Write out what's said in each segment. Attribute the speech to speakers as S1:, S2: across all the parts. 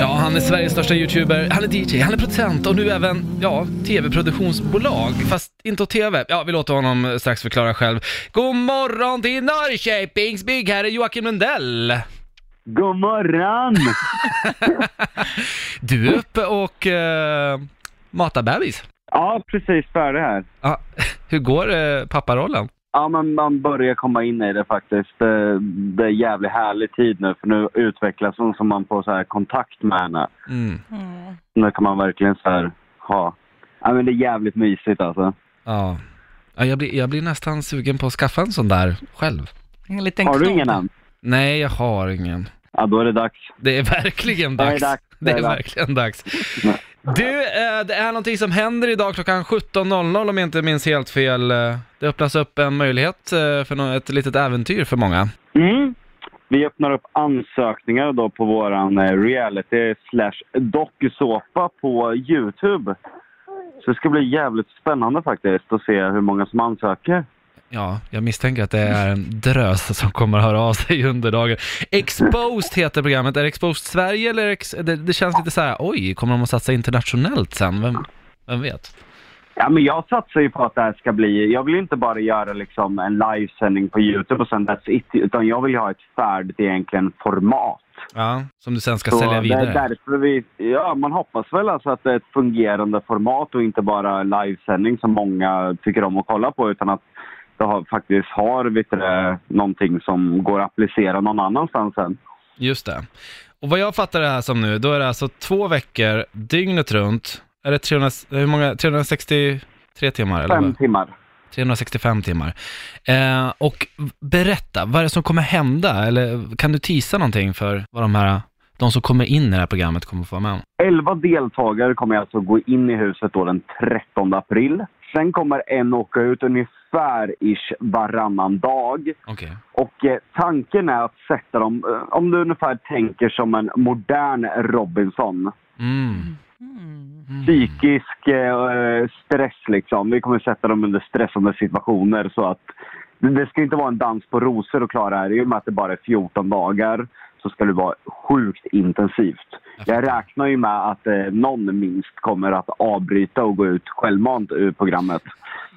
S1: Ja, han är Sveriges största youtuber, han är DJ, han är producent och nu även, ja, tv-produktionsbolag. Fast inte åt tv. Ja, vi låter honom eh, strax förklara själv. God morgon till Norrköpings byggherre Joakim Lundell!
S2: God morgon!
S1: Du är uppe och eh, matar bebis.
S2: ja, precis färdig här.
S1: Ja, hur går eh, papparollen?
S2: Ja, men man börjar komma in i det faktiskt. Det, det är jävligt härlig tid nu, för nu utvecklas hon som man får så här kontakt med henne.
S1: Mm.
S2: Nu kan man verkligen så här ha... Ja, men det är jävligt mysigt alltså.
S1: Ja. ja jag, blir, jag blir nästan sugen på att skaffa en sån där själv.
S3: En liten
S2: Har du
S3: knodd.
S2: ingen än?
S1: Nej, jag har ingen.
S2: Ja, då är det dags.
S1: Det är verkligen
S2: Det är
S1: dags.
S2: dags,
S1: Det är verkligen dags. Du, eh, det är någonting som händer idag klockan 17.00 om jag inte minns helt fel. Eh, Det öppnas upp en möjlighet eh, för nå- ett litet äventyr för många.
S2: Mm. Vi öppnar upp ansökningar då på våran eh, reality slash dokusåpa på Youtube. Så det ska bli jävligt spännande faktiskt att se hur många som ansöker.
S1: Ja, jag misstänker att det är en drös som kommer att höra av sig under dagen. Exposed heter programmet. Är det Exposed Sverige eller? Ex- det, det känns lite så här, oj, kommer de att satsa internationellt sen? Vem, vem vet?
S2: Ja, men jag satsar ju på att det här ska bli... Jag vill inte bara göra liksom en livesändning på Youtube och sen that's it. Utan jag vill ju ha ett färdigt egentligen format.
S1: Ja, som du sen ska
S2: Så
S1: sälja
S2: det
S1: vidare.
S2: är därför vi... Ja, man hoppas väl alltså att det är ett fungerande format och inte bara en livesändning som många tycker om att kolla på. Utan att det har, faktiskt har vet du, det, någonting som går att applicera någon annanstans sen.
S1: Just det. Och vad jag fattar det här som nu, då är det alltså två veckor, dygnet runt. Är det 300, hur många, 363 timmar? Eller?
S2: Fem
S1: vad?
S2: timmar.
S1: 365 timmar. Eh, och berätta, vad är det som kommer hända? Eller kan du tisa någonting för vad de här, de som kommer in i det här programmet kommer få vara med om?
S2: Elva deltagare kommer alltså gå in i huset då den 13 april. Sen kommer en åka ut ungefär ish varannan dag.
S1: Okej.
S2: Och eh, tanken är att sätta dem, eh, om du ungefär tänker som en modern Robinson.
S1: Mm.
S2: Psykisk eh, stress liksom. Vi kommer sätta dem under stressande situationer så att det- det ska inte vara en dans på rosor att klara det här. I och med att det bara är 14 dagar så ska det vara sjukt intensivt. Jag räknar ju med att eh, någon minst kommer att avbryta och gå ut självmant ur programmet.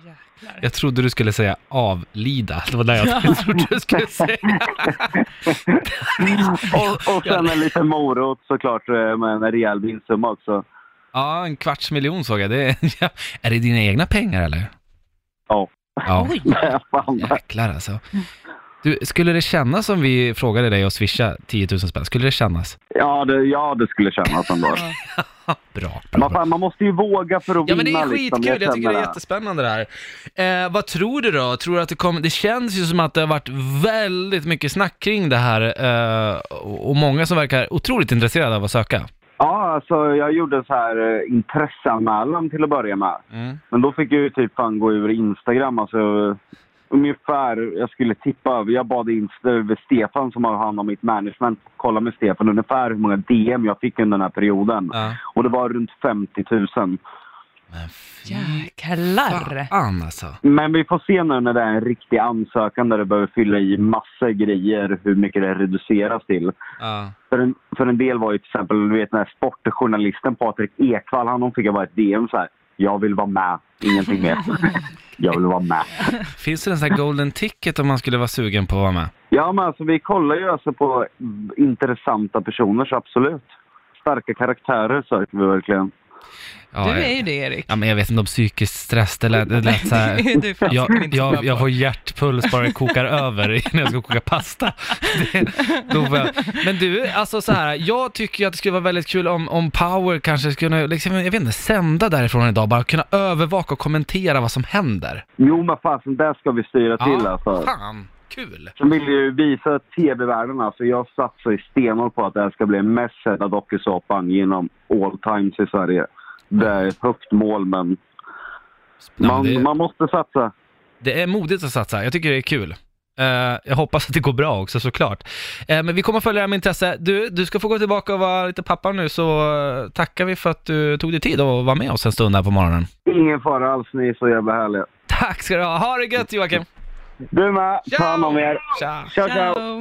S3: Jäklar.
S1: Jag trodde du skulle säga avlida. Det var det jag trodde du skulle säga.
S2: Och, och sen en liten morot såklart eh, med en rejäl vinstsumma också.
S1: Ja, en kvarts miljon såg jag. Det är, är det dina egna pengar eller?
S2: Ja.
S1: Ja.
S3: Oj,
S2: Fan.
S1: Jäklar alltså. Du, skulle det kännas om vi frågade dig att swisha 10 000 spänn? Skulle det kännas?
S2: Ja, det, ja, det skulle kännas ändå.
S1: Bra, bra, bra.
S2: Man, fan, man måste ju våga för att
S1: Ja men det
S2: vinna.
S1: är
S2: liksom.
S1: skitkul, jag tycker det
S2: känner
S1: är jättespännande det här. Eh, vad tror du då? Tror du att det kommer, det känns ju som att det har varit väldigt mycket snack kring det här eh, och och många som verkar otroligt intresserade av att söka.
S2: Ja, alltså, jag gjorde en så här eh, intresseanmälan till att börja med.
S1: Mm.
S2: Men då fick jag ju typ fan gå ur Instagram. Alltså, eh, ungefär, jag skulle tippa, jag bad Insta över Stefan som har hand om mitt management, kolla med Stefan ungefär hur många DM jag fick under den här perioden.
S1: Ja.
S2: Och det var runt 50 000.
S1: Men fy
S3: jäklar.
S1: fan alltså.
S2: Men vi får se nu när det är en riktig ansökan där du behöver fylla i massa grejer hur mycket det reduceras till.
S1: Ja.
S2: För en, för en del var ju till exempel, du vet den här sportjournalisten Patrik Ekwall, han fick jag bara ett DM så här. Jag vill vara med, ingenting mer. jag vill vara med.
S1: Finns det en sån här golden ticket om man skulle vara sugen på att vara med?
S2: Ja men alltså vi kollar ju alltså på intressanta personer så absolut. Starka karaktärer söker vi verkligen.
S1: Ja,
S3: Du är
S1: jag-
S3: ju det Erik.
S1: Ja, men jag vet inte om psykisk stress, det lät, det lät så här.
S3: Det är du fan
S1: Jag,
S3: inte så bra
S1: jag, jag
S3: på.
S1: får hjärtpuls bara det kokar över när jag ska koka pasta. Det, då får jag, men du, alltså så här, jag tycker ju att det skulle vara väldigt kul om, om Power kanske skulle kunna, liksom, jag vet inte, sända därifrån idag, bara kunna övervaka och kommentera vad som händer.
S2: Jo men fasen, där ska vi styra till alltså.
S1: fan, kul!
S2: Sen vill jag ju visa tv-världen alltså. Jag satsar ju stenhårt på att det här ska bli den mest sedda dokusåpan genom all times i Sverige. Det är ett högt mål men
S1: Ja,
S2: man,
S1: men det,
S2: man måste satsa.
S1: det är modigt att satsa, jag tycker det är kul. Eh, jag hoppas att det går bra också såklart. Eh, men vi kommer följa det här med intresse. Du, du ska få gå tillbaka och vara lite pappa nu så eh, tackar vi för att du tog dig tid att vara med oss en stund här på morgonen.
S2: Ingen fara alls, ni är så jävla härliga.
S1: Tack ska du ha. Ha det gött Joakim.
S2: Du med, ta hand om er.
S1: Tja.
S2: Ciao, ciao.
S3: Ciao.